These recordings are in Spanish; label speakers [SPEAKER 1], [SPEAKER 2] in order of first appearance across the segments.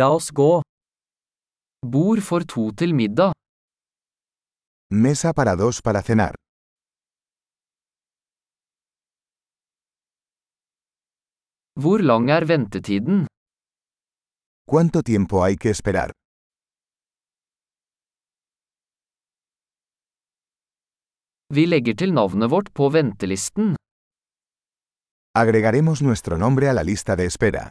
[SPEAKER 1] La oss gå. Bord for to til middag.
[SPEAKER 2] Mesa para dos para cenar.
[SPEAKER 1] Hvor lang er ventetiden?
[SPEAKER 2] ¿Cuánto tiempo hay que esperar?
[SPEAKER 1] Vi legger til navnet vårt på ventelisten.
[SPEAKER 2] Agregaremos nuestro nombre a la lista de espera.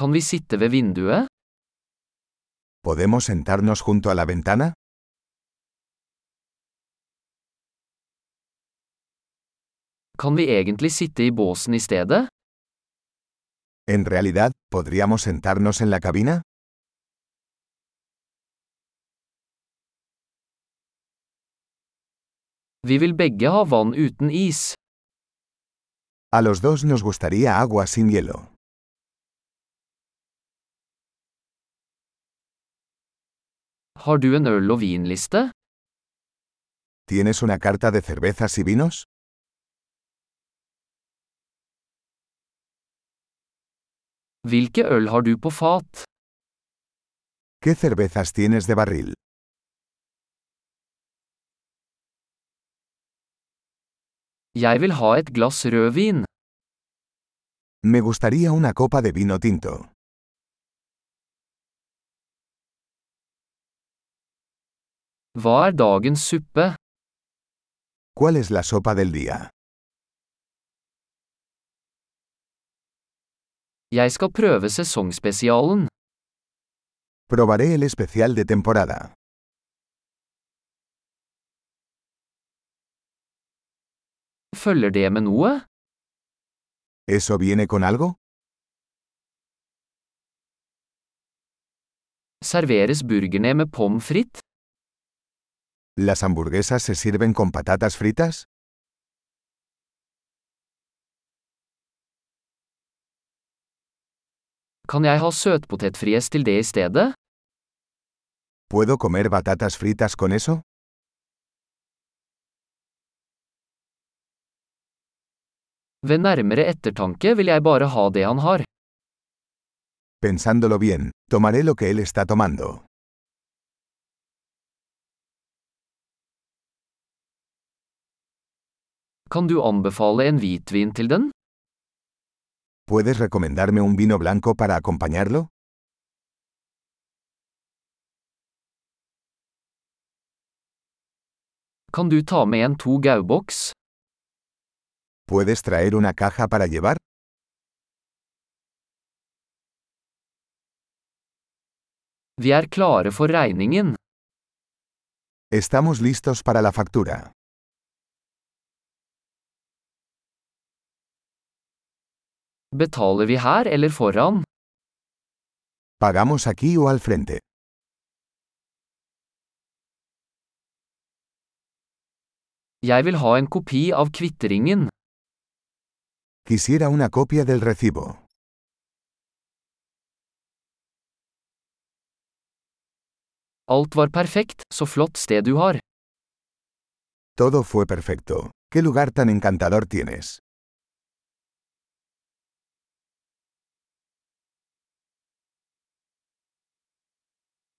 [SPEAKER 1] Kan vi sitte ved vinduet?
[SPEAKER 2] ¿Podemos sentarnos junto a la ventana?
[SPEAKER 1] Kan vi egentlig sitte i båsen i stedet?
[SPEAKER 2] En realidad, ¿podríamos sentarnos en la cabina?
[SPEAKER 1] Vi vil begge ha vann uten is.
[SPEAKER 2] A los dos nos gustaría agua sin hielo.
[SPEAKER 1] Har du en øl- og vinliste?
[SPEAKER 2] ¿Tienes una carta de cervezas y vinos?
[SPEAKER 1] Hvilke øl har du på fat?
[SPEAKER 2] ¿Qué cervezas tienes de barril?
[SPEAKER 1] Jeg vil ha et glass rødvin.
[SPEAKER 2] Me gustaría una copa de vino tinto.
[SPEAKER 1] Hva er dagens suppe?
[SPEAKER 2] ¿Cuál es la sopa del día?
[SPEAKER 1] Jeg skal prøve sesongspesialen.
[SPEAKER 2] Probaré el especial de temporada.
[SPEAKER 1] Følger det med noe?
[SPEAKER 2] ¿Eso viene con algo?
[SPEAKER 1] Serveres burgerne med pommes frites?
[SPEAKER 2] ¿Las hamburguesas se sirven con patatas fritas?
[SPEAKER 1] Kan jeg ha søtpotetfries til det i stedet?
[SPEAKER 2] ¿Puedo comer batatas fritas con eso?
[SPEAKER 1] Ved nærmere ettertanke vil jeg bare ha det han har.
[SPEAKER 2] Pensándolo bien, tomaré lo que él está tomando.
[SPEAKER 1] Kan du anbefale en hvitvin til den?
[SPEAKER 2] ¿Puedes recomendarme un vino blanco para acompañarlo?
[SPEAKER 1] Kan du ta med en to gauboks?
[SPEAKER 2] ¿Puedes traer una caja para llevar?
[SPEAKER 1] Vi er klare for regningen.
[SPEAKER 2] Estamos listos para la factura.
[SPEAKER 1] Betaler vi her eller foran?
[SPEAKER 2] ¿Pagamos aquí o al frente?
[SPEAKER 1] Jeg vil ha en kopi av kvitteringen.
[SPEAKER 2] Quisiera una copia del recibo.
[SPEAKER 1] Alt var perfekt, så flott sted du har.
[SPEAKER 2] Todo fue perfecto. ¿Qué lugar tan encantador tienes?